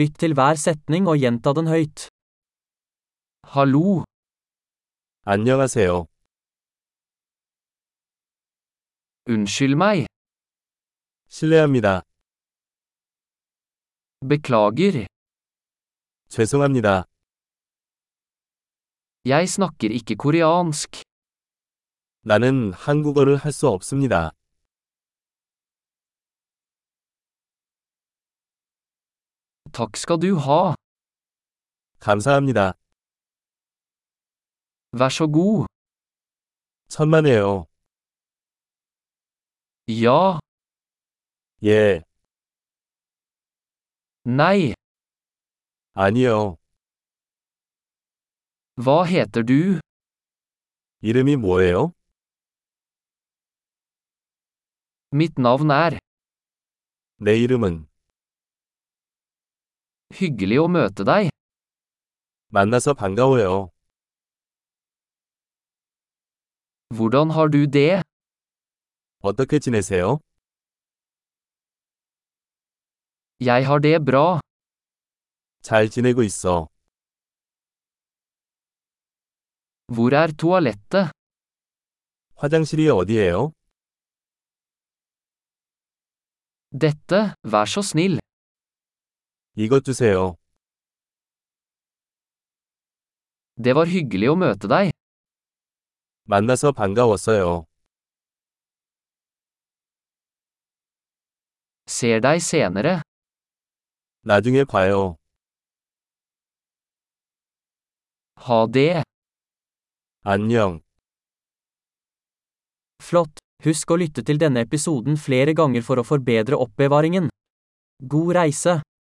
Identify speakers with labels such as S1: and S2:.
S1: Lytt til hver setning og gjenta den høyt. Hallo,
S2: 안녕하세요.
S1: unnskyld meg,
S2: 실례합니다.
S1: beklager,
S2: 죄송합니다.
S1: jeg snakker ikke koreansk.
S2: 나는 한국어를 할 수 없습니다.
S1: Takk skal du ha,
S2: 감사합니다.
S1: vær så god.
S2: 천만에요.
S1: Ja,
S2: 예,
S1: nei,
S2: 아니요.
S1: hva heter du?
S2: 이름이 뭐예요?
S1: Mitt navn er.
S2: 내 이름은
S1: Hyggelig å møte deg.
S2: 만나서 반가워요.
S1: Hvordan har du det?
S2: 어떻게 지내세요?
S1: Jeg har det bra.
S2: 잘 지내고 있어.
S1: Hvor er toalettet?
S2: 화장실이 어디예요?
S1: Dette, vær så snill.
S2: 이것 주세요.
S1: Det var hyggelig å møte deg.
S2: 만나서 반가웠어요.
S1: Ser deg senere.
S2: 나중에 봐요.
S1: Ha det.
S2: 안녕.
S1: Flott. Husk å lytte til denne episoden flere ganger for å forbedre oppbevaringen. God reise!